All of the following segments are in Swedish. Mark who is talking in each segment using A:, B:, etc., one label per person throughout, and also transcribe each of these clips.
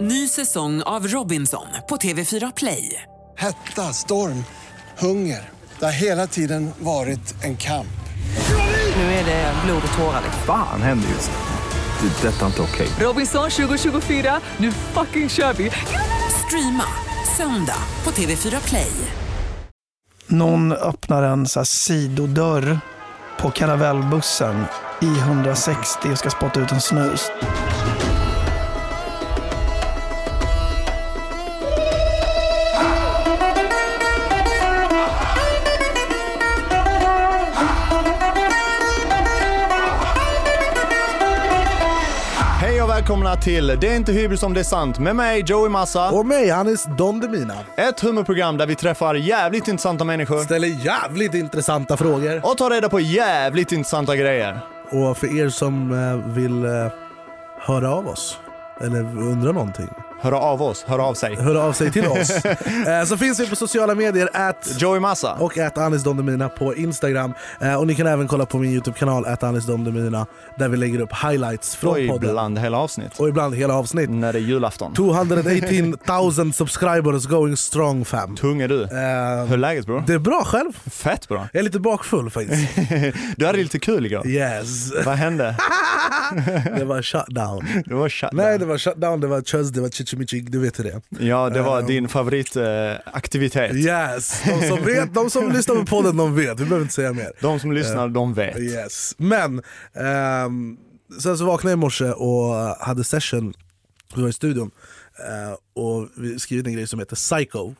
A: Ny säsong av Robinson på TV4 Play.
B: Hetta, storm, hunger. Det har hela tiden varit en kamp.
A: Nu är det blod och tårar. liksom.
C: Fan händer just nu. Det. är Detta är inte okej.
A: Robinson 2024, nu fucking kör vi! Streama söndag på TV4 Play.
D: Någon öppnar en så här sidodörr på karavellbussen i 160 och ska spotta ut en snus.
E: Hej och välkomna till Det är inte hybris om det är sant med mig Joey Massa.
F: Och mig, Hannes Don Demina.
E: Ett humorprogram där vi träffar jävligt intressanta människor
F: Ställer jävligt intressanta frågor.
E: och tar reda på jävligt intressanta grejer.
F: Och för er som eh, vill eh, höra av oss, eller undra någonting,
E: Hör av oss, hör av sig.
F: hör av sig till oss. Eh, Så finns vi på sociala medier, at
E: Joey Massa.
F: och at Anis Don Demina på Instagram. Eh, Och ni kan även kolla på min YouTube-kanal, at Anis Don Demina, där vi lägger upp highlights från
E: Och
F: podden.
E: ibland hela avsnitt.
F: Och ibland hela avsnitt.
E: När det är julafton.
F: 218 000 subscribers going strong fam.
E: Tung är du.
F: Eh,
E: Hur är läget bror?
F: Det är bra själv.
E: Fett bra.
F: Jag är lite bakfull faktiskt.
E: Du hade lite kul igår.
F: Yes.
E: Vad hände?
F: Det var shutdown.
E: Det var chatt.
F: Nej det var shutdown, det var chuzz, det var chichimichig, du vet hur det är.
E: Ja, det
F: Eh,
E: var din favoritaktivitet.
F: Yes, de som vet, de som lyssnar på podden de vet, vi behöver inte säga mer.
E: De som lyssnar,
F: Eh,
E: de vet.
F: Yes, men ehm, sen så vaknade jag i morse och hade session, vi var i studion, eh, och vi skrivit en grej som heter Psycho,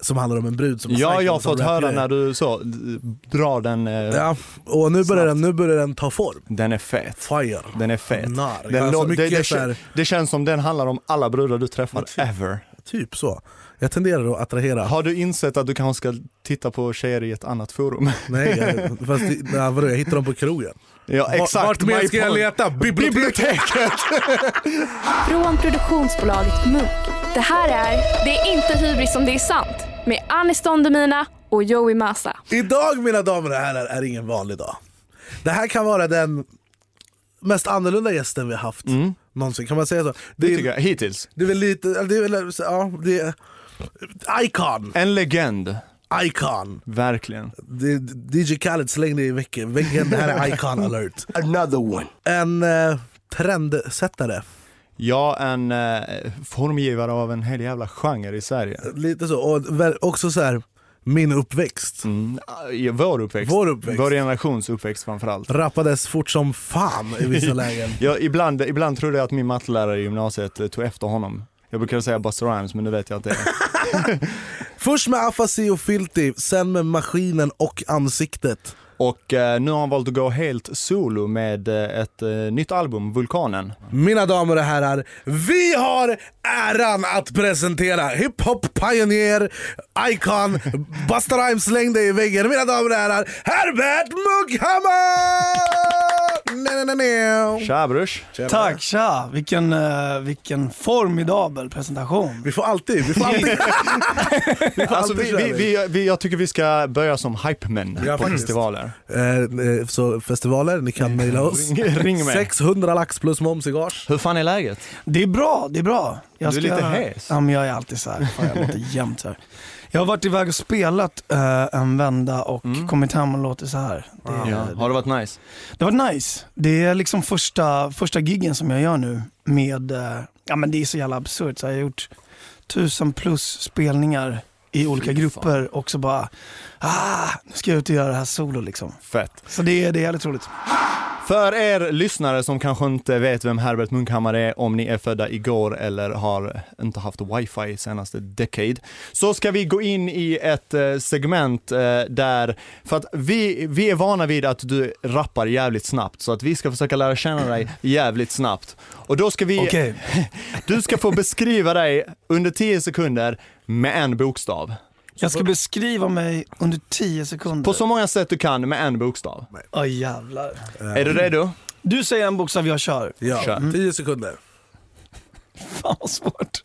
F: som handlar om en brud som
E: Ja,
F: psycho
E: jag har
F: som
E: fått höra
F: rapgrej.
E: när du så, drar den, eh,
F: Ja, och nu börjar, den, nu börjar den ta form.
E: den är fet.
F: Fire.
E: Den är fet.
F: Narr.
E: Den
F: Alltså
E: lå- det,
F: mycket
E: det,
F: så här-
E: kän- det känns som den handlar om alla brudar du träffar ever.
F: Typ så. Jag tenderar att attrahera.
E: Har du insett att du kanske ska titta på tjejer i ett annat forum?
F: Nej, jag, fast, det- nej, vadå, jag hittar dem på krogen.
E: ja, exakt.
F: Vart mer
E: My
F: ska jag
E: point.
F: leta? Biblioteket!
G: Från produktionsbolaget Munk. Det här är Det är inte hybris om det är sant med Anis Don Demina och Joey Massa.
F: Idag mina damer och herrar är ingen vanlig dag. Det här kan vara den mest annorlunda gästen vi har haft någonsin. Kan man säga så?
E: Det
F: är-
E: tycker jag, hittills.
F: det är väl lite, det är väl, ja, det är, Icon!
E: En legend,
F: Icon!
E: verkligen.
F: Det, är- DJ Khaled slängde i veckan. väggen. Det här är icon alert.
E: Another one.
F: En eh, trendsättare.
E: Ja, en eh, formgivare av en hel jävla genre i Sverige.
F: Lite så. Och väl- också så här, min uppväxt.
E: Mm, I vår uppväxt.
F: Vår uppväxt.
E: Vår generations uppväxt framförallt.
F: Rappades fort som fan i vissa lägen.
E: Jag, ibland, ibland trodde jag att min mattelärare i gymnasiet eh, tog efter honom. Jag brukar säga Buster Rhymes, men nu vet jag att det är...
F: Först med afasi och filti, sen med maskinen och ansiktet.
E: Och eh, nu har han valt att gå helt solo med eh, ett eh, nytt album, Vulkanen.
F: Mina damer och herrar, vi har äran att presentera hiphop-pionjär, icon, Busta Rhymes slängde i väggen. Mina damer och herrar, Herbert Mugghammar! Nej, nej, nej, nej.
E: Tja brors!
D: Tack, tja! Vilken, eh, vilken formidabel presentation.
F: Vi får alltid, vi får alltid.
E: Alltså, vi, vi, vi, vi, jag tycker vi ska börja som hype-män
F: Ja,
E: på
F: faktiskt.
E: festivaler.
F: eh, eh, så festivaler, ni kan mejla oss.
E: Ring- ring mig.
F: 600 lax plus moms i gage.
E: Hur fan är läget?
D: Det är bra, det är bra. Jag
E: Du är lite hes.
D: Ja, men jag är alltid så här. Fan, jag låter jämt så här. Jag har varit iväg och spelat eh, en vända och
E: Mm.
D: kommit hem och låter så här. Det,
E: Har det varit nice?
D: det var nice. Det är liksom första, första giggen som jag gör nu med, eh, ja men det är så jävla absurt. Så här, jag har gjort tusen plus spelningar i olika grupper och så bara, ah, nu ska jag ut och göra det här solo liksom.
E: Fett.
D: Så det, är- det är jävligt roligt.
E: För er lyssnare som kanske inte vet vem Herbert Munkhammar är, om ni är födda igår eller har inte haft wifi senaste decade, så ska vi gå in i ett eh, segment eh, där, för att vi, vi är vana vid att du rappar jävligt snabbt, så att vi ska försöka lära känna dig jävligt snabbt. Och då ska vi,
D: Okej,
E: du ska få beskriva dig under 10 sekunder med en bokstav.
D: jag ska beskriva mig under 10 sekunder.
E: På så många sätt du kan med en bokstav.
D: Åh jävlar.
E: Är du redo?
D: Du säger en bokstav, jag kör.
E: Kör.
F: Ja, Mm. 10 sekunder.
D: Fan vad svårt.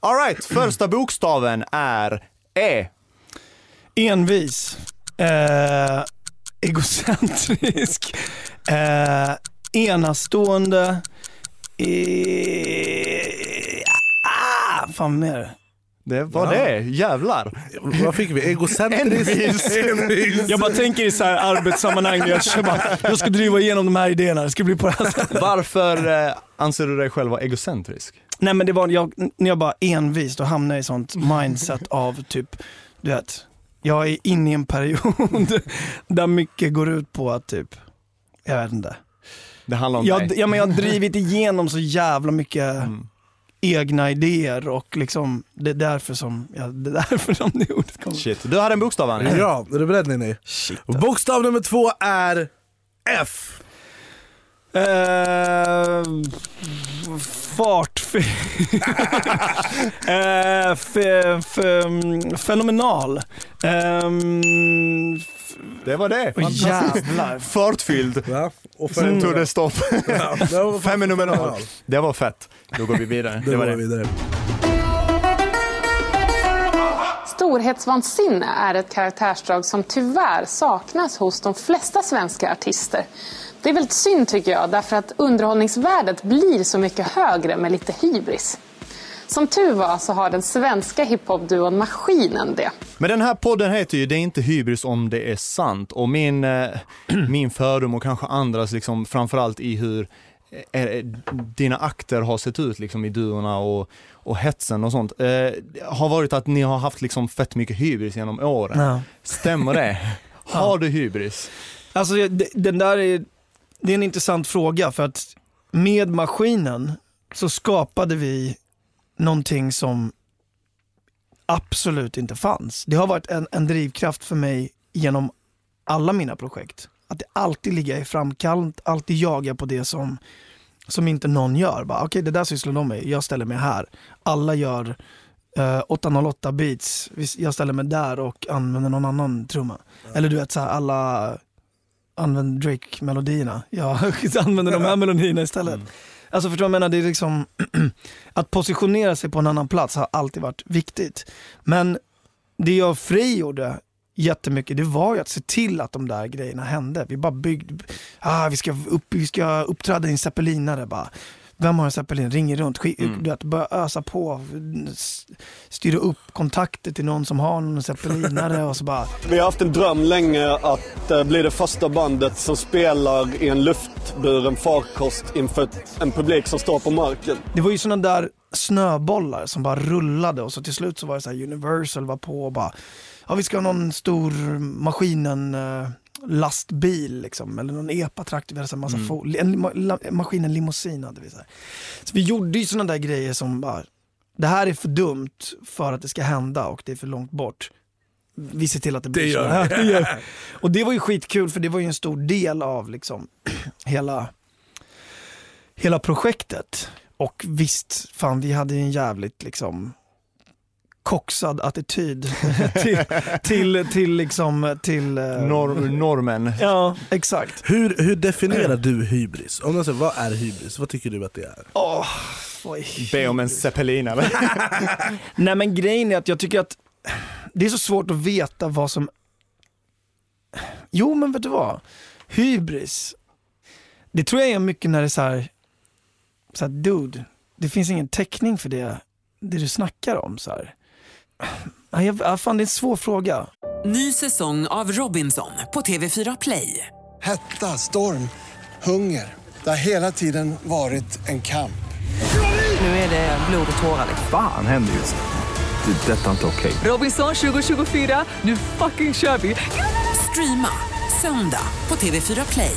E: Alright, första bokstaven är E.
D: Envis. Eh, egocentrisk. Eh, enastående. Eh, ah, fan mer.
E: Det var
F: Ja.
E: det, jävlar.
F: Vad fick vi? Egocentrisk?
E: Envis.
F: Envis.
D: Jag bara tänker i så här arbetssammanhang, jag, kör bara, jag ska driva igenom de här idéerna, det ska bli på det här sättet.
E: Varför eh, anser du dig själv vara egocentrisk?
D: Nej men det var, jag, när jag bara envist och hamnade i sånt mindset av typ, du vet, jag är inne i en period där mycket går ut på att typ, jag vet inte.
E: Det handlar om
D: Jag,
E: dig. Mm.
D: ja, men jag har drivit igenom så jävla mycket egna idéer och liksom, det är därför som, ja, det är därför som det ordet kommer.
E: Shit, du hade en bokstav Annie.
F: Ja, är du beredd Ninni?
D: Shit.
F: Bokstav nummer två är F.
D: Eh, fartfel. Eh, fe- fe- fenomenal. Ehm, f-
E: Det var det.
D: åh, jävlar.
E: Fartfylld.
F: Ja. Och för
E: Sen tog det stopp.
F: Ja, det var fan
E: Fenomenal. Det var fett. Då går vi vidare.
F: Det
E: Det var
F: går
E: det.
F: vidare.
H: Storhetsvansinne är ett karaktärsdrag som tyvärr saknas hos de flesta svenska artister. Det är väldigt synd tycker jag, därför att underhållningsvärdet blir så mycket högre med lite hybris. Som tur var så har den svenska hiphopduon Maskinen det.
E: Men den här podden heter ju Det är inte hybris om det är sant och min, eh, min fördom och kanske andras liksom framförallt i hur eh, eh, dina akter har sett ut liksom i duorna och, och hetsen och sånt eh, har varit att ni har haft liksom fett mycket hybris genom åren.
D: Ja.
E: Stämmer det? Har du hybris?
D: Alltså jag- det- den där är, det är en intressant fråga för att med maskinen så skapade vi någonting som absolut inte fanns. Det har varit en, en drivkraft för mig genom alla mina projekt. Att alltid ligga i framkant, alltid jaga på det som, som inte någon gör. Bara, Okej, det där sysslar de med, jag ställer mig här. Alla gör eh, 808 beats, Visst, jag ställer mig där och använder någon annan trumma. Eller du vet, så här, alla använder Drake-melodierna. Jag använder de här melodierna istället. Alltså förstår du vad jag menar? Det är liksom, att positionera sig på en annan plats har alltid varit viktigt. Men det jag frigjorde jättemycket, det var ju att se till att de där grejerna hände. Vi bara byggde, ah, vi, ska upp, vi ska uppträda i en zeppelinare bara. Vem har en zeppelin? Ringer runt, skick, du vet, börja ösa på, s- styra upp kontakter till någon som har någon zeppelinare och så bara
I: Vi har haft en dröm länge att eh, bli det första bandet som spelar i en luftburen farkost inför ett- en publik som står på marken.
D: Det var ju sådana där snöbollar som bara rullade och så till slut så var det så här Universal var på och bara ja vi ska ha någon stor maskinen eh, lastbil liksom eller någon epatraktor, vi hade så här massa fol- en, lima- la, maskinen limousin hade vi så här. Så vi gjorde ju sådana där grejer som bara det här är för dumt för att det ska hända och det är för långt bort. Vi ser till att det blir
F: Det
D: så
F: gör
D: här. Det gör vi. Och det var ju skitkul för det var ju en stor del av liksom hela hela projektet. Och visst, fan vi hade ju en jävligt liksom koxad attityd till, till, till liksom, till... eh,
E: Norm, normen.
D: Ja, exakt.
F: Hur, hur definierar du hybris? Om jag säger, vad är hybris? Vad tycker du att det är?
D: Åh, oj.
E: Be om en zeppelinare.
D: Nej men grejen är att jag tycker att det är så svårt att veta vad som... Jo men vet du vad? Hybris. Det tror jag är mycket när det är så här, så här dude, det finns ingen täckning för det, det du snackar om. Så här. Nej, Jag, ja, fan det är en svår fråga.
A: Ny säsong av Robinson på TV4 Play.
B: Hetta, storm, hunger. Det har hela tiden varit en kamp.
A: Nu är det blod och tårar.
C: Fan händer just nu. Det. är Detta är inte okej.
A: Robinson 2024, nu fucking kör vi! Streama söndag på TV4 Play.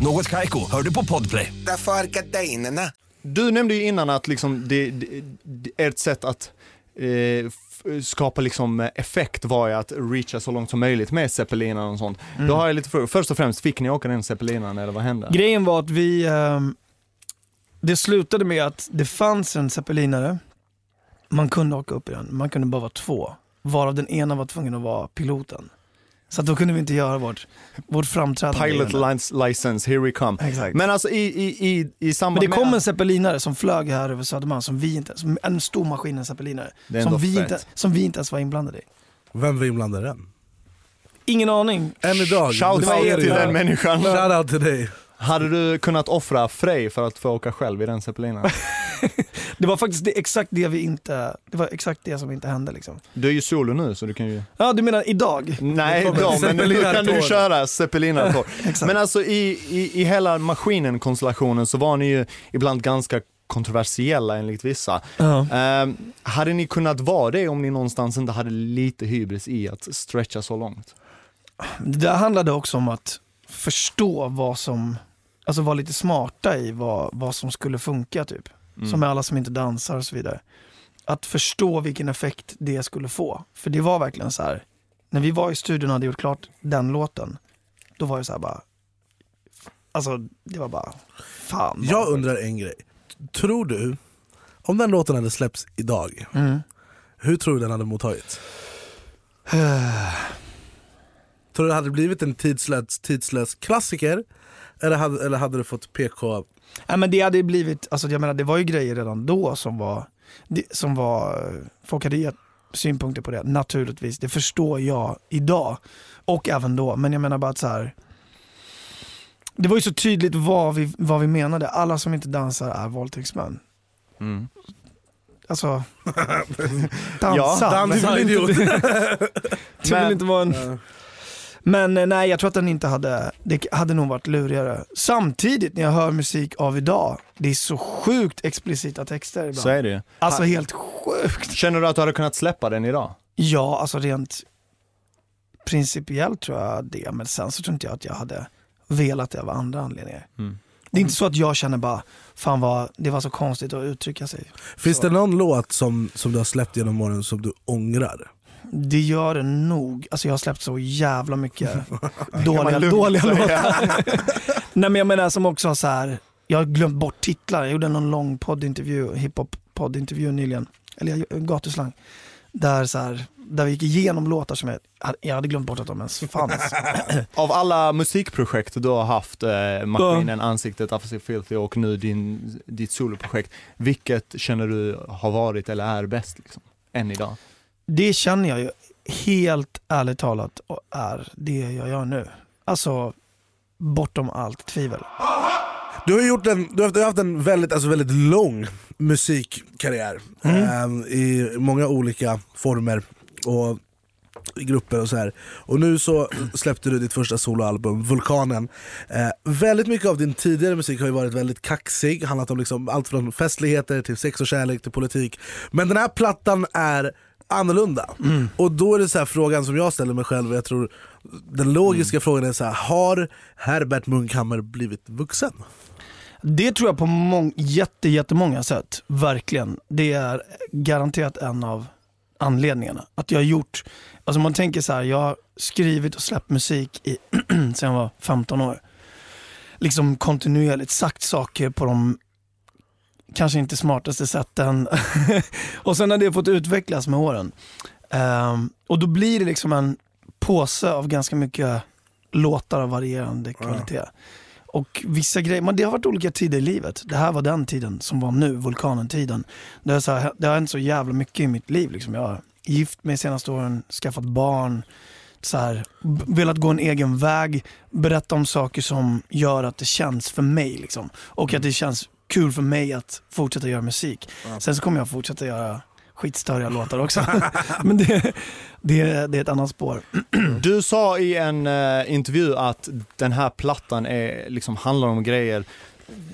J: Något Kaiko, hör du på Podplay.
K: Därför arkadeinerna.
E: Du nämnde ju innan att liksom det, det, det, ert sätt att eh, f- skapa liksom eh, effekt var ju att reacha så långt som möjligt med zeppelinan och sånt. Då
D: Mm.
E: har jag lite frågor. Först och främst, fick ni åka den zeppelinan eller vad hände?
D: Grejen var att vi, ehm, det slutade med att det fanns en zeppelinare, man kunde åka upp i den, man kunde bara vara två. varav den ena var tvungen att vara piloten. Så att då kunde vi inte göra vårt, vårt framträdande.
E: Pilot lines, license, here we come.
D: Exakt.
E: Men alltså i, i, i, i
D: Men
E: samband
D: det kom
E: med...
D: en zeppelinare som flög här över Södermalm, som vi inte, som en stor maskin, en zeppelinare.
E: Det är
D: Som
E: ändå
D: vi,
E: fett.
D: inte, som vi inte ens var inblandade i.
F: Vem var inblandad i den?
D: Ingen aning.
F: Än idag.
E: Shout
F: Det var
E: out
F: er
E: till
F: idag.
E: den människan.
F: Shout out till dig.
E: Hade du kunnat offra Frej för att få åka själv i den zeppelinen?
D: Det var faktiskt det, exakt det vi inte, det var exakt det som inte hände liksom.
E: Du är ju solo nu så du kan ju...
D: Ja du menar idag?
E: Nej,
D: Det kommer
E: då, men nu
D: zeppelinartåg.
E: kan du köra zeppelinartåg.
D: Exakt.
E: men alltså i, i, i hela maskinen-konstellationen så var ni ju ibland ganska kontroversiella enligt vissa.
D: Ja.
E: Ehm, hade ni kunnat vara det om ni någonstans inte hade lite hybris i att stretcha så långt?
D: Det där handlade också om att förstå vad som, alltså vara lite smarta i vad, vad som skulle funka typ. Som med alla som inte dansar och så vidare. Att förstå vilken effekt det skulle få. För det var verkligen så här, när vi var i studion och hade gjort klart den låten, då var det så här bara, alltså det var bara, fan. vad-
F: Jag undrar en grej. Tror du, om den låten hade släppts idag,
E: Mm.
F: hur tror du den hade mottagits? tror du det hade blivit en tidslös, tidslös klassiker? Eller hade, eller hade det fått PK?
D: Nej, men det hade ju blivit, alltså jag menar det var ju grejer redan då som var, det- som var folk hade gett synpunkter på det naturligtvis. Det förstår jag idag och även då. Men jag menar bara att så här. Det var ju så tydligt vad vi, vad vi menade. Alla som inte dansar är våldtäktsmän.
E: Mm.
D: Alltså, dansa.
E: Ja,
F: Dan, du
D: men-
F: är väl idiot?
D: du vill inte vara en... Men eh, nej, jag tror att den inte hade, det hade nog varit lurigare. Samtidigt när jag hör musik av idag, det är så sjukt explicita texter ibland.
E: Så är det ju.
D: Alltså helt sjukt.
E: Känner du att du hade kunnat släppa den idag?
D: Ja, alltså rent principiellt tror jag det, men sen så tror inte jag att jag hade velat det av andra anledningar.
E: Mm.
D: Det är inte så att jag känner bara, fan vad, det var så konstigt att uttrycka sig.
F: Finns det någon låt som, som du har släppt genom åren som du ångrar?
D: Det gör det nog. Alltså jag har släppt så jävla mycket dåliga,
E: man lugnt
D: dåliga
E: säga.
D: låtar. Nej men jag menar som också har så här. jag har glömt bort titlar. Jag gjorde någon lång poddintervju, hiphop poddintervju nyligen, eller jag- gatuslang. Där, så här, där vi gick igenom låtar som jag, jag hade glömt bort att de ens fanns.
E: Av alla musikprojekt du har haft, eh, Maskinen, Ansiktet, Afasi Filthy och nu din, ditt soloprojekt, vilket känner du har varit eller är bäst liksom? Än idag?
D: Det känner jag ju helt ärligt talat och är det jag gör nu. Alltså bortom allt tvivel.
F: Du har, gjort en, du har, du har haft en väldigt, alltså väldigt lång musikkarriär eh, i många olika former och i grupper och så här. Och nu så släppte du ditt första soloalbum, Vulkanen. Eh, väldigt mycket av din tidigare musik har ju varit väldigt kaxig, handlat om liksom allt från festligheter till sex och kärlek till politik. Men den här plattan är annorlunda. Och då är det så här frågan som jag ställer mig själv, och jag tror den logiska frågan är så här, har Herbert Munkhammar blivit vuxen?
D: Det tror jag på mång- jätte, jättemånga sätt, verkligen. Det är garanterat en av anledningarna. Att jag har gjort, alltså man tänker så här, jag har skrivit och släppt musik i, sedan jag var 15 år. Liksom kontinuerligt sagt saker på de kanske inte smartaste sätten. och sen har det fått utvecklas med åren. Ehm, och då blir det liksom en påse av ganska mycket låtar av varierande kvalitet. Och vissa grejer, men det har varit olika tider i livet. Det här var den tiden som var nu, vulkanen-tiden. Det, är så här, det har hänt så jävla mycket i mitt liv. Liksom. Jag har gift mig senaste åren, skaffat barn, så här, b- velat gå en egen väg, berätta om saker som gör att det känns för mig. Liksom. Och att det känns kul för mig att fortsätta göra musik. Sen så kommer jag fortsätta göra skitstöriga låtar också. men det, det, det är ett annat spår.
E: Du sa i en eh, intervju att den här plattan är, liksom, handlar om grejer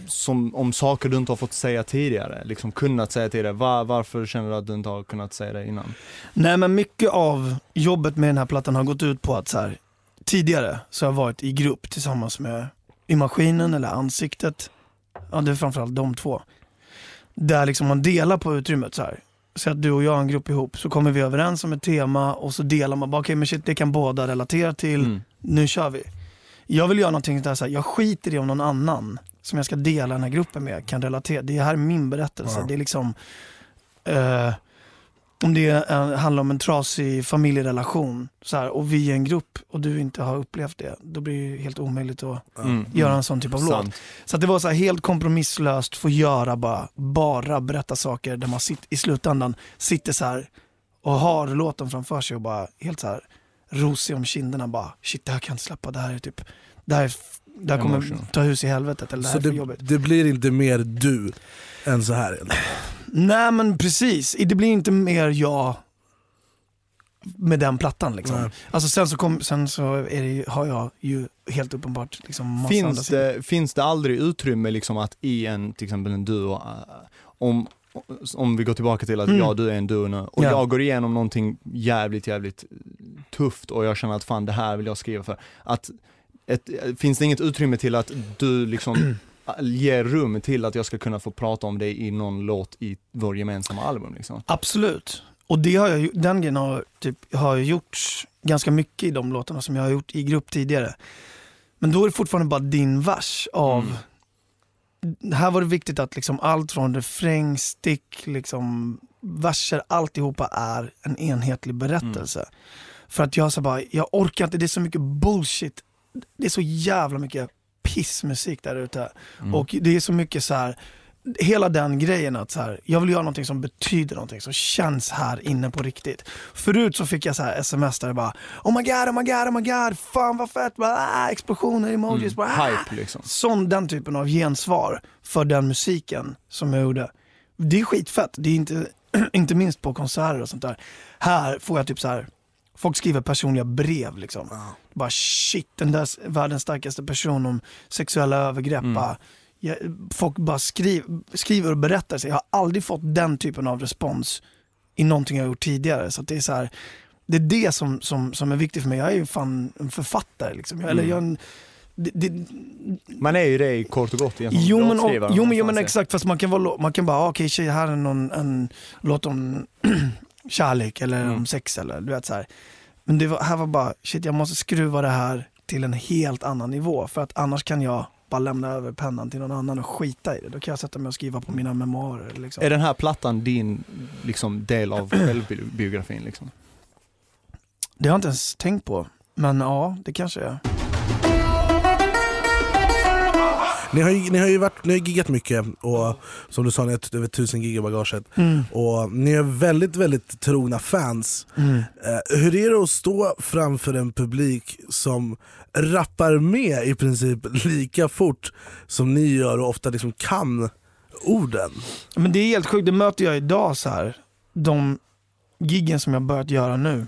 E: som, om saker du inte har fått säga tidigare, liksom kunnat säga tidigare. Va- varför känner du att du inte har kunnat säga det innan?
D: Nej men mycket av jobbet med den här plattan har gått ut på att så här, tidigare så har jag varit i grupp tillsammans med i maskinen eller ansiktet. Ja det är framförallt de två. Där liksom man delar på utrymmet så här. Så att du och jag har en grupp ihop, så kommer vi överens om ett tema och så delar man bara, okej men shit det kan båda relatera till, nu kör vi. Jag vill göra någonting där så här, jag skiter i om någon annan som jag ska dela den här gruppen med kan relatera. Det här är min berättelse. Det är liksom, eh, om det är, en- handlar om en trasig familjerelation så här, och vi är en grupp och du inte har upplevt det, då blir det ju helt omöjligt att
E: Mm.
D: göra en sån typ av
E: Sant.
D: låt. Så att det var så här, helt kompromisslöst, få göra bara, bara berätta saker där man sitter, i slutändan sitter så här och har låten framför sig och bara helt så här rosig om kinderna bara shit det här kan jag inte släppa, det här är typ, det här, är f- det här
F: Emotional.
D: kommer ta hus i helvetet eller det
F: Så
D: här är för
F: det,
D: jobbigt.
F: det blir inte mer du än så här?
D: Nej men precis, det blir inte mer jag med den plattan liksom.
E: Nej.
D: Alltså sen så, kom, sen så är det, ju- har jag ju helt uppenbart liksom massa andra
E: Finns
D: sidor.
E: det, finns det aldrig utrymme liksom att i en, till exempel en duo, äh, om, om vi går tillbaka till att
D: Mm.
E: ja, du är en duo nu och
D: Ja.
E: jag går igenom någonting jävligt, jävligt tufft och jag känner att fan det här vill jag skriva för. Att, ett, finns det inget utrymme till att du liksom ger rum till att jag ska kunna få prata om det i någon låt i vår gemensamma album liksom?
D: Absolut. Och det har jag, ju- den grejen har, typ, har jag gjort ganska mycket i de låtarna som jag har gjort i grupp tidigare. Men då är det fortfarande bara din vers av Här var det viktigt att liksom allt från refräng, stick, liksom, verser, alltihopa är en enhetlig berättelse. För att jag så bara, jag orkar inte, det är så mycket bullshit. Det är så jävla mycket pissmusik där ute.
L: Mm.
D: Och det är så mycket så här hela den grejen att så här, jag vill göra någonting som betyder någonting, som känns här inne på riktigt. Förut så fick jag så här sms där det bara oh my god, oh my god, oh my god, fan vad fett, bara, ah, explosioner, emojis, bara, ah.
E: Hype liksom.
D: Sån, den typen av gensvar för den musiken som jag gjorde. Det är skitfett, det är inte, inte minst på konserter och sånt där. Här får jag typ så här, folk skriver personliga brev liksom. Bara shit, den där s- världens starkaste person om sexuella övergrepp. Bara, jag, folk bara skriv, skriver och berättar sig. Jag har aldrig fått den typen av respons i någonting jag gjort tidigare. Så att det är så här, det är det som, som, som är viktigt för mig. Jag är ju fan en författare liksom. Jag, eller
E: Mm.
D: jag är en, det, det,
E: Man är ju det i kort och gott i en
D: Jo men, och,
E: låtskrivare
D: jo, men, jo, men
E: någonstans.
D: exakt, fast man kan, vara, lo- man kan bara, ah, okej tjej, här är någon, en låt om kärlek eller
E: Mm.
D: om sex eller du vet så här. Men det var, här var bara, shit jag måste skruva det här till en helt annan nivå för att annars kan jag bara lämna över pennan till någon annan och skita i det. Då kan jag sätta mig och skriva på mina memoarer. Liksom.
E: Är den här plattan din liksom, del av självbiografin? Liksom?
D: Det har jag inte ens tänkt på, men ja, det kanske är.
F: Ni har ju, ni har ju varit, ni har giggat mycket och som du sa, ni har t- över 1000 gig i bagaget.
D: Mm.
F: Och ni är väldigt, väldigt trogna fans.
D: Mm.
F: Eh, hur är det att stå framför en publik som rappar med i princip lika fort som ni gör och ofta liksom kan orden?
D: Men det är helt sjukt, det möter jag idag så här. De giggen som jag börjat göra nu.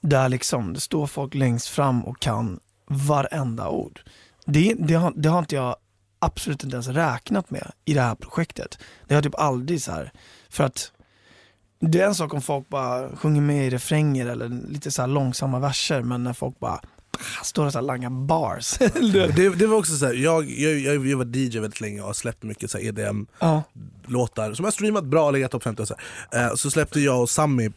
D: Där liksom, det står folk längst fram och kan varenda ord. Det, det, har, det har inte jag absolut inte ens räknat med i det här projektet. Det har jag typ aldrig så här. För att det är en sak om folk bara sjunger med i refränger eller lite så här långsamma verser men när folk bara ah, står och så här langar bars.
F: det, det var också så här, jag, jag, jag, jag var DJ väldigt länge och har släppt mycket så här EDM
D: Ja.
F: låtar som har streamat bra, legat topp 50 och så, här. Eh, så släppte jag och Sammy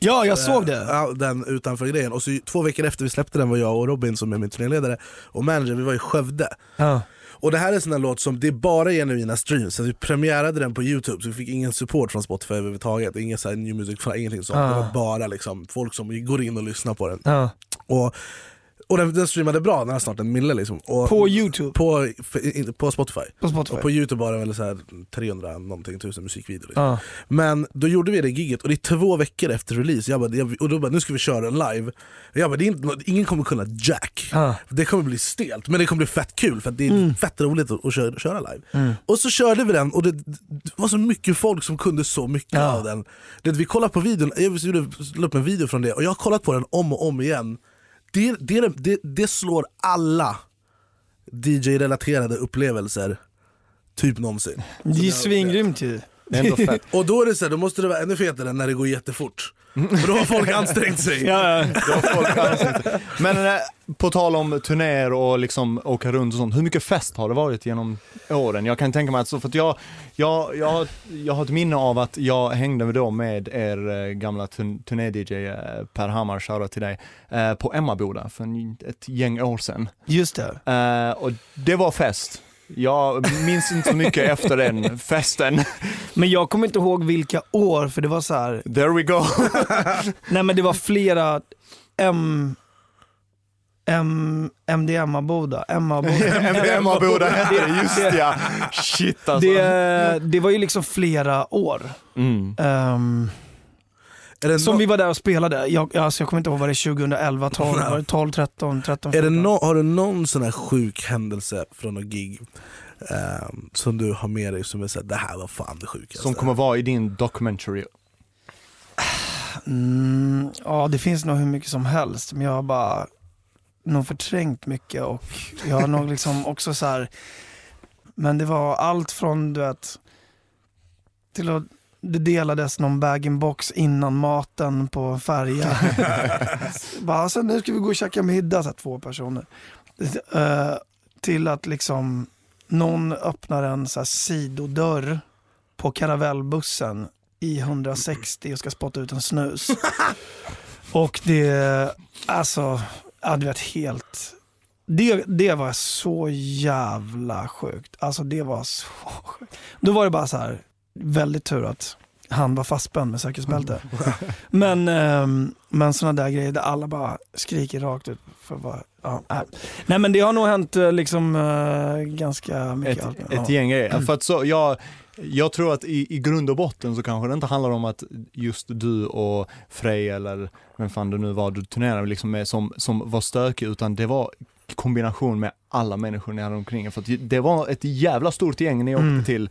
D: Ja, jag såg det.
F: Den utanför grejen. Och så, två veckor efter vi släppte den var jag och Robin som är min turnéledare och manager, vi var i Skövde.
D: Ja.
F: Och det här är en sån här låt som det är bara genuina streams, så vi premiärade den på youtube så vi fick ingen support från Spotify överhuvudtaget, ingen så här new music, från- ingenting sånt.
D: Ja.
F: Det var bara liksom folk som går in och lyssnar på den.
D: Ja.
F: Och, och den, den streamade bra, den har snart en mille liksom. Och
D: På Youtube?
F: På, f- in- på Spotify.
D: På Spotify.
F: Och på Youtube var det väl så här 300 någonting tusen musikvideor. Liksom.
D: Ja.
F: Men då gjorde vi det giget och det är två veckor efter release, jag bara, jag, och då bara nu ska vi köra den live. Jag bara, det är inte, nå- ingen kommer kunna jack. Det kommer bli stelt, men det kommer bli fett kul för att det är
D: Mm.
F: fett roligt att, att köra, köra live.
D: Mm.
F: Och så körde vi den och det, det var så mycket folk som kunde så mycket av den. Det, vi kollade på videon, jag gjorde- la upp en video från det och jag har kollat på den om och om igen. Det, det, det, det slår alla DJ-relaterade upplevelser typ någonsin.
E: Alltså,
D: Det är ju svingrymt ju.
F: Och då är det så här, då måste det vara ännu fetare när det går jättefort. För då har folk ansträngt sig.
E: Ja, Men eh, på tal om turnéer och liksom åka runt och sånt, hur mycket fest har det varit genom åren? Jag kan tänka mig att så, för att jag, jag, jag, har- jag har ett minne av att jag hängde då med er eh, gamla turn- turné-DJ eh, Per Hammar, shoutout till dig, eh, på Emmaboda för en, ett gäng år sedan.
D: Just det.
E: Eh, och det var fest. Jag minns inte så mycket efter den festen.
D: Men jag kommer inte ihåg vilka år, för det var så här.
E: There we go.
D: Nej men det var flera M... M... MDMA-boda.
E: MDMA-boda hette det, just ja. Shit alltså.
D: Det, det var ju liksom flera år.
E: Mm.
D: Ehm, som vi var där och spelade. Jag, alltså jag kommer inte ihåg vad det är, 2011, 12,
F: Nej.
D: var det 12 13, 13,
F: Är det
D: 14.
F: nå- har du någon sån här sjuk händelse från något gig ehm, som du har med dig som är såhär, det här var fan det sjukaste?
E: Som kommer vara i din documentary.
D: Mm, ja, det finns nog hur mycket som helst, men jag har bara nog förträngt mycket och jag har nog liksom också så här. Men det var allt från du vet, till att det delades någon bag-in-box innan maten på en färja. bara, alltså, nu ska vi gå och käka middag, så här, två personer. Eh, till att liksom någon öppnar en så här, sidodörr på karavellbussen i 160 och ska spotta ut en snus. och det, alltså, ja du vet helt. Det, det var så jävla sjukt. Alltså det var så sjukt. Då var det bara så här, väldigt tur att han var fastspänd med säkerhetsbälte. men ehm, men sådana där grejer där alla bara skriker rakt ut. För bara, ja, nej. nej men det har nog hänt eh, liksom eh, ganska mycket.
E: Ett,
D: allt möjligt.
E: ett
D: Ja. Mm.
E: gäng grejer. För att så, jag, jag tror att i, i grund och botten så kanske det inte handlar om att just du och Frej eller vem fan det nu var du turnerade med, liksom med som, som var stökig, utan det var kombination med alla människor ni hade omkring er. För att det var ett jävla stort gäng ni åkte
D: Mm.
E: till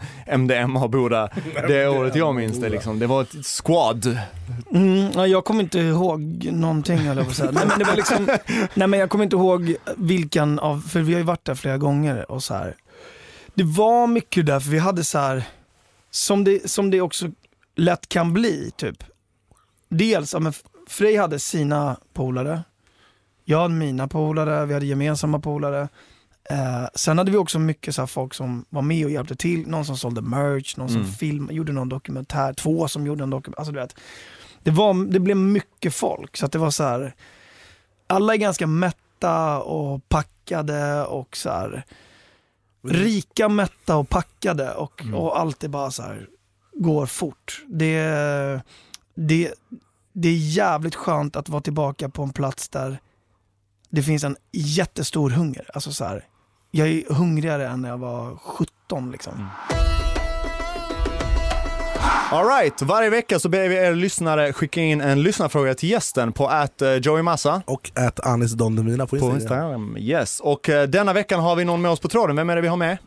E: MDMA Boda det året jag minns det liksom. Det var ett squad.
D: Mm, ja, jag kommer inte ihåg någonting höll jag på att säga. Nej, men det var liksom, nej men jag kommer inte ihåg vilken av, för vi har ju varit där flera gånger och så här. Det var mycket där för vi hade så här, som det, som det också lätt kan bli typ. Dels, ja, men Frej hade sina polare, jag hade mina polare, vi hade gemensamma polare. Eh, sen hade vi också mycket så här folk som var med och hjälpte till, någon som sålde merch, någon som
E: Mm.
D: film, gjorde någon dokumentär, två som gjorde en dokumentär, alltså du vet det, var, det blev mycket folk. Så att det var så här, alla är ganska mätta och packade och så här, rika, mätta och packade och, och allt är bara så här, går fort. Det, det, det är jävligt skönt att vara tillbaka på en plats där det finns en jättestor hunger. Alltså så här, jag är hungrigare än när jag var 17 liksom.
E: Alright, varje vecka så ber vi er lyssnare skicka in en lyssnarfråga till gästen på att Joey Massa.
F: Och att Anis Don Demina på
E: På
F: Instagram.
E: Instagram, yes. Och eh, denna veckan har vi någon med oss på tråden. Vem är det vi har med?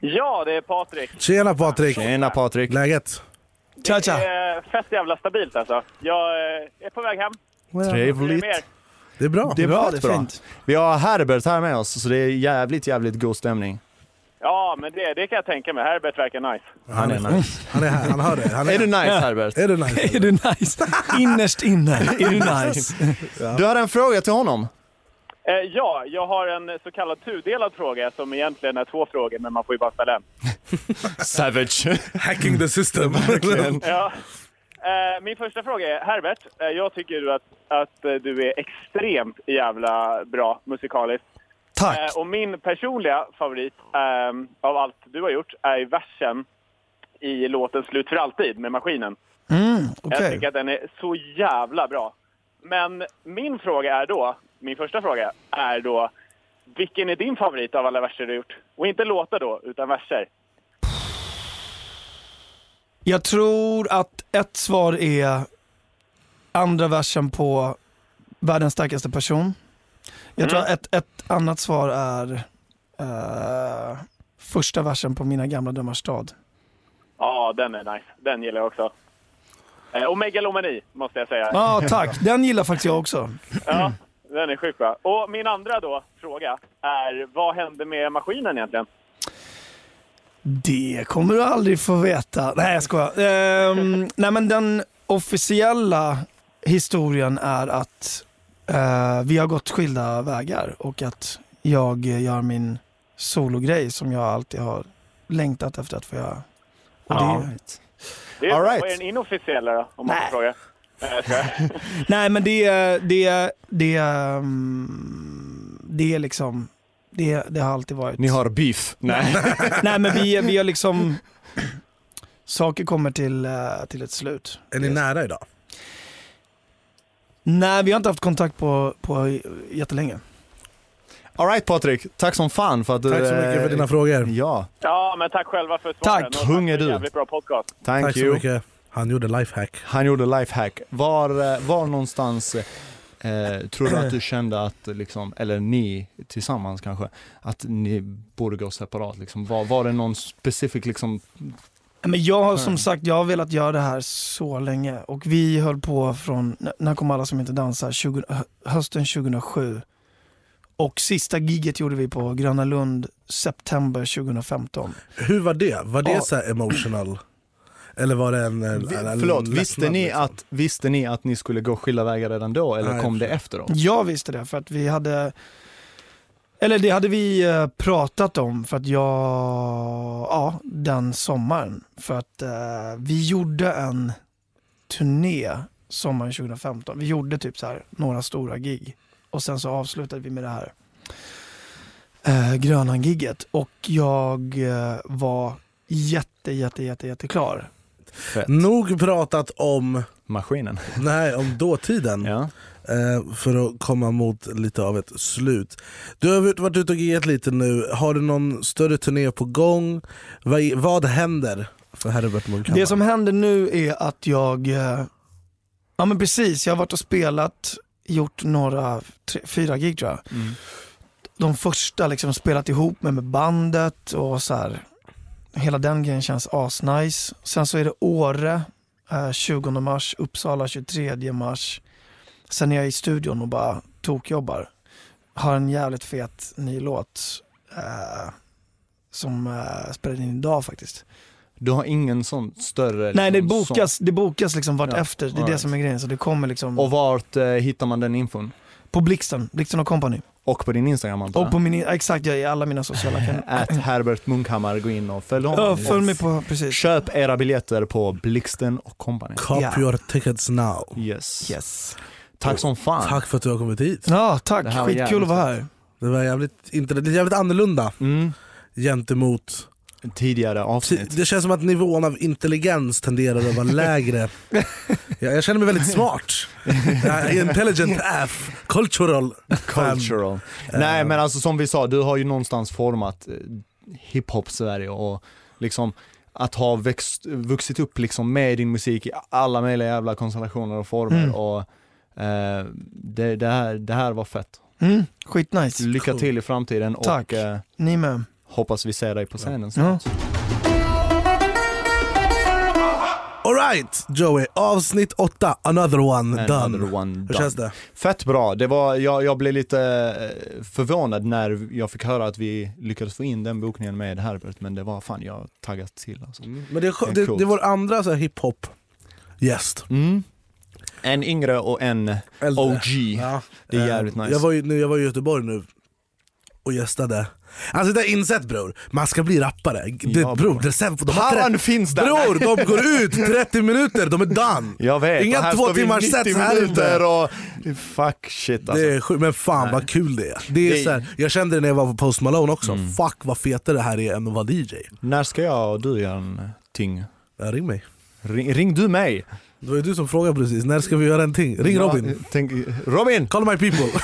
L: Ja, det är Patrik.
F: Tjena Patrik!
E: Tjena Patrik!
F: Läget?
D: Tja,
L: Det är Eh, fett jävla stabilt alltså. Jag eh, är på väg hem. Hur är
E: Trevligt.
L: det med er?
F: Det är bra.
L: Det är bra,
E: fett
L: det är fint.
E: Vi har Herbert här med oss, så det är jävligt, jävligt god stämning.
L: Ja, men det, det kan jag tänka mig. Herbert verkar nice.
E: Han är nice.
F: Han är här, han hör det. Han
E: är, du nice Herbert?
F: Är du nice?
D: Är du nice? Innerst inne, är du nice?
E: Du hade en fråga till honom.
L: Eh, ja, jag har en så kallad tudelad fråga som egentligen är två frågor, men man får ju bara ställa en.
E: Savage.
F: Hacking the system.
L: Ja. Eh, Min första fråga är, Herbert, eh, jag tycker du att, att eh, du är extremt jävla bra musikaliskt.
D: Tack.
L: Eh, Och min personliga favorit ehm, av allt du har gjort är ju versen i låten Slut för alltid med Maskinen.
D: Mm,
L: Jag
D: okej.
L: tycker att den är så jävla bra. Men min fråga är då, min första fråga är då, vilken är din favorit av alla verser du gjort? Och inte låtar då, utan verser.
D: Jag tror att ett svar är andra versen på Världens starkaste person. Jag tror att ett, ett annat svar är eh, första versen på Mina gamla drömmars stad.
L: Ja, den är nice. Den gillar jag också. Eh, Och Megalomani, måste jag säga.
D: Ja, tack. Den gillar faktiskt jag också.
L: Ja, den är sjukt bra. Och min andra då, fråga är, vad hände med maskinen egentligen?
D: Det kommer du aldrig få veta. Nej, jag skojar. Ehm, nej, men den officiella historien är att eh, vi har gått skilda vägar och att jag eh, gör min sologrej som jag alltid har längtat efter att få göra. Och det,
L: Det är,
D: All right.
L: Vad är den inofficiella då, om man får fråga? Nej, jag skojar.
D: Nej men ehm, det, det, det, um, det är liksom, Det, det har alltid varit.
E: Ni har beef? Nej.
D: Nej men vi, vi har liksom, saker kommer till, eh, till ett slut.
F: Är ni nära idag?
D: Nej, vi har inte haft kontakt på, på jättelänge.
E: Alright Patrik, tack som fan för att du... eh,
F: Tack så mycket för dina frågor.
E: Ja.
L: Ja, men tack själva för svaren.
E: Tack.
L: Och
E: Kung är
L: för en
E: du.
L: Jävligt bra podcast.
E: Thank
F: Tack
E: you.
F: så mycket. Han gjorde lifehack.
E: Han gjorde lifehack. Var, eh, var någonstans eh, tror du att du kände att, liksom, eller ni tillsammans kanske, att ni borde gå separat? Liksom? Var, var det någon specifik liksom...
D: Men jag har
E: Mm.
D: som sagt, jag har velat göra det här så länge och vi höll på från, n- när kom alla som inte dansar? 20, hö- hösten 2007. Och sista giget gjorde vi på Gröna Lund september 2015.
F: Hur var det? Var det
D: Ja.
F: så här emotional? Eller var det en... en, en
E: Förlåt,
F: lättnad,
E: visste ni,
F: liksom?
E: att, visste ni att ni skulle gå skilda vägar redan då eller
F: Nej,
E: kom det
F: precis.
E: efteråt?
D: Jag visste det för att vi hade, eller det hade vi eh, pratat om för att jag, ja den sommaren. För att eh, vi gjorde en turné sommaren 2015. Vi gjorde typ så här några stora gig och sen så avslutade vi med det här eh, Grönan-gigget och jag eh, var jätte, jätte, jätte, jätte klar.
F: Nog pratat om...
E: Maskinen.
F: Nej, om dåtiden. Eh, För att komma mot lite av ett slut. Du har varit- varit ute och giggat lite nu. Har du någon större turné på gång? Vad, i- vad händer för Herbert Munkhammar?
D: Det som händer nu är att jag, eh, ja men precis, jag har varit och spelat, gjort några, tre, fyra gig tror jag. De första liksom spelat ihop med, med bandet och så här. hela den grejen känns asnice. Sen så är det Åre eh, 20 mars, Uppsala 23 mars. Sen är jag i studion och bara tokjobbar. Har en jävligt fet ny låt eh, som eh, spelade in idag faktiskt.
E: Du har ingen sån större...
D: Nej, det
E: liksom,
D: bokas,
E: sån-
D: det bokas liksom vart
E: Ja,
D: efter. Det är det
E: alright.
D: som är grejen. Så det kommer liksom
E: Och vart eh, hittar man den infon?
D: på Blixten, Blixten och Company.
E: Och på din Instagram antar
D: Och på min, exakt, jag i alla mina sociala kanaler.
E: Att Herbert Munkhammar, gå in och följ honom.
D: Ja, följ mig på, precis.
E: Köp era biljetter på Blixten och Company.
F: Cop your tickets now.
E: Yes.
D: yes.
E: Tack som fan.
F: Tack för att du har kommit hit.
D: Ja,
F: Det
D: tack.
F: här var
D: Skitkul
F: jävligt
D: att vara här.
F: Det var jävligt, inte, det är jävligt annorlunda
D: Mm.
F: gentemot...
E: Tidigare avsnitt.
F: Det känns som att nivån av intelligens tenderar att vara lägre. jag, jag känner mig väldigt smart. Ja, Intelligent F, cultural.
E: Cultural.
D: eh.
E: Nej men alltså som vi sa, du har ju någonstans format eh, hiphop-Sverige och liksom att ha växt, vuxit upp liksom med din musik i alla möjliga jävla konstellationer och former
D: Mm.
E: och eh, det, det, här, det här var fett.
D: Mm, skitnice.
E: Lycka till i framtiden
D: Tack.
E: och eh,
D: Ni med.
E: hoppas vi ser dig på scenen
D: Ja.
F: Alright Joey, avsnitt åtta, another one
E: Another
F: done.
E: one done.
F: Hur känns det?
E: Fett bra. Det var, jag, jag blev lite eh, förvånad när jag fick höra att vi lyckades få in den bokningen med Herbert, men det var fan, jag taggade till alltså.
F: Men det, är skö- det,
E: coolt.
F: det är vår andra så här, hiphop-gäst.
E: En yngre och en
F: Äldre.
E: OG.
F: Ja.
E: Det är
F: Eh,
E: jävligt nice.
F: Jag var, ju, nu, jag var i Göteborg nu och gästade. Alltså det har jag insett bror, man ska bli rappare. Det,
E: Ja,
F: bror, det är sen, de har
E: Paran
F: trä-
E: finns där.
F: Bror, de går ut 30 minuter, de är done.
E: Jag vet,
F: Inga
E: och här
F: två
E: står vi
F: timmars
E: 90
F: sets här
E: minuter
F: ute.
E: och Fuck shit alltså.
F: Det är sjukt, men fan vad kul det är. Det är
E: Det- Mm.
F: Så här, jag kände det när jag var på Post Malone också, fuck vad fetare det här är än att vara DJ.
E: När ska jag och du göra en ting?
F: Ja, ring mig.
E: Ring, ring du mig?
F: Det var ju du som frågade precis, när ska vi göra en ting? Ring
E: Ja,
F: Robin.
E: Tänk, Robin!
F: Call my people.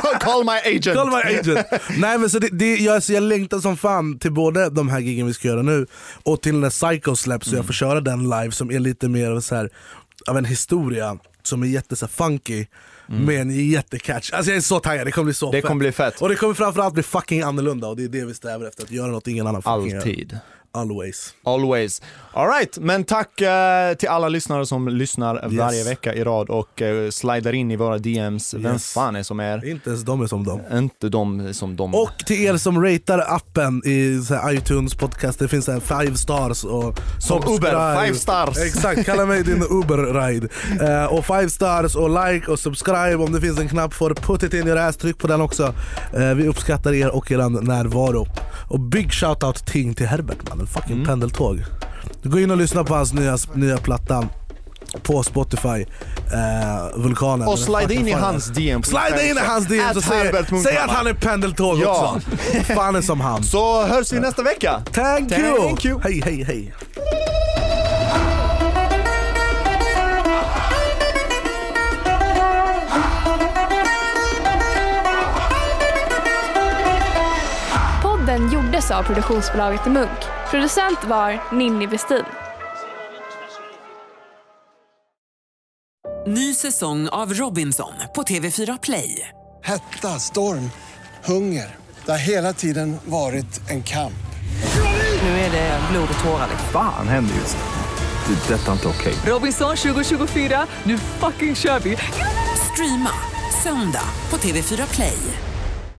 E: Call, call my agent!
F: Call my agent. Nej men så det, det, jag, så jag längtar som fan till både de här giggen vi ska göra nu och till när Psycho släpps så jag får
E: Mm.
F: köra den live som är lite mer av så här, av en historia som är jätte så här, funky med en jättecatch. Alltså jag är så taggad, det kommer bli så
E: Mm. Det
F: fett.
E: kommer bli fett.
F: Och det kommer framförallt bli fucking annorlunda och det är det vi strävar efter, att göra något ingen annan fucking gör.
E: Alltid.
F: Always.
E: Always. Alright, men tack eh, till alla lyssnare som lyssnar varje vecka i rad och eh, slidar in i våra DMs. Vem
F: Yes.
E: fan är som är?
F: Inte ens de är som dem.
E: Inte de som de.
F: Och till er som ratear appen i så här iTunes podcast, det finns så här five stars och
E: Som Uber,
F: subscribe.
E: five stars.
F: Exakt, kalla mig din Uber-ride. Eh, och five stars och like och subscribe om det finns en knapp för put it in your ass, tryck på den också. Eh, vi uppskattar er och er närvaro. Och big shoutout
E: Mm.
F: ting till Herbert mannen, fucking pendeltåg. Gå in och lyssna på hans nya, nya platta. på Spotify, eh, Vulkanen.
E: Och
F: Den
E: slida
F: fucking
E: in i
F: fan.
E: hans DM på
F: Slida in i hans DM så
E: Att Herbert
F: säger,
E: Munkhammar.
F: säg att han är pendeltåg
E: Ja.
F: också. Fan är som han.
E: Så hörs vi nästa vecka.
F: Thank you!
E: Thank you.
F: Hej hej hej.
G: Podden gjordes av produktionsbolaget Munk. Producent var Ninni Westin.
A: Ny säsong av Robinson på TV4 Play.
B: Hetta, storm, hunger. Det har hela tiden varit en kamp.
A: Nu är det blod och tårar. liksom.
C: Fan händer just det. Det är detta inte okej.
A: Robinson 2024, nu fucking kör vi! Streama söndag på TV4 Play.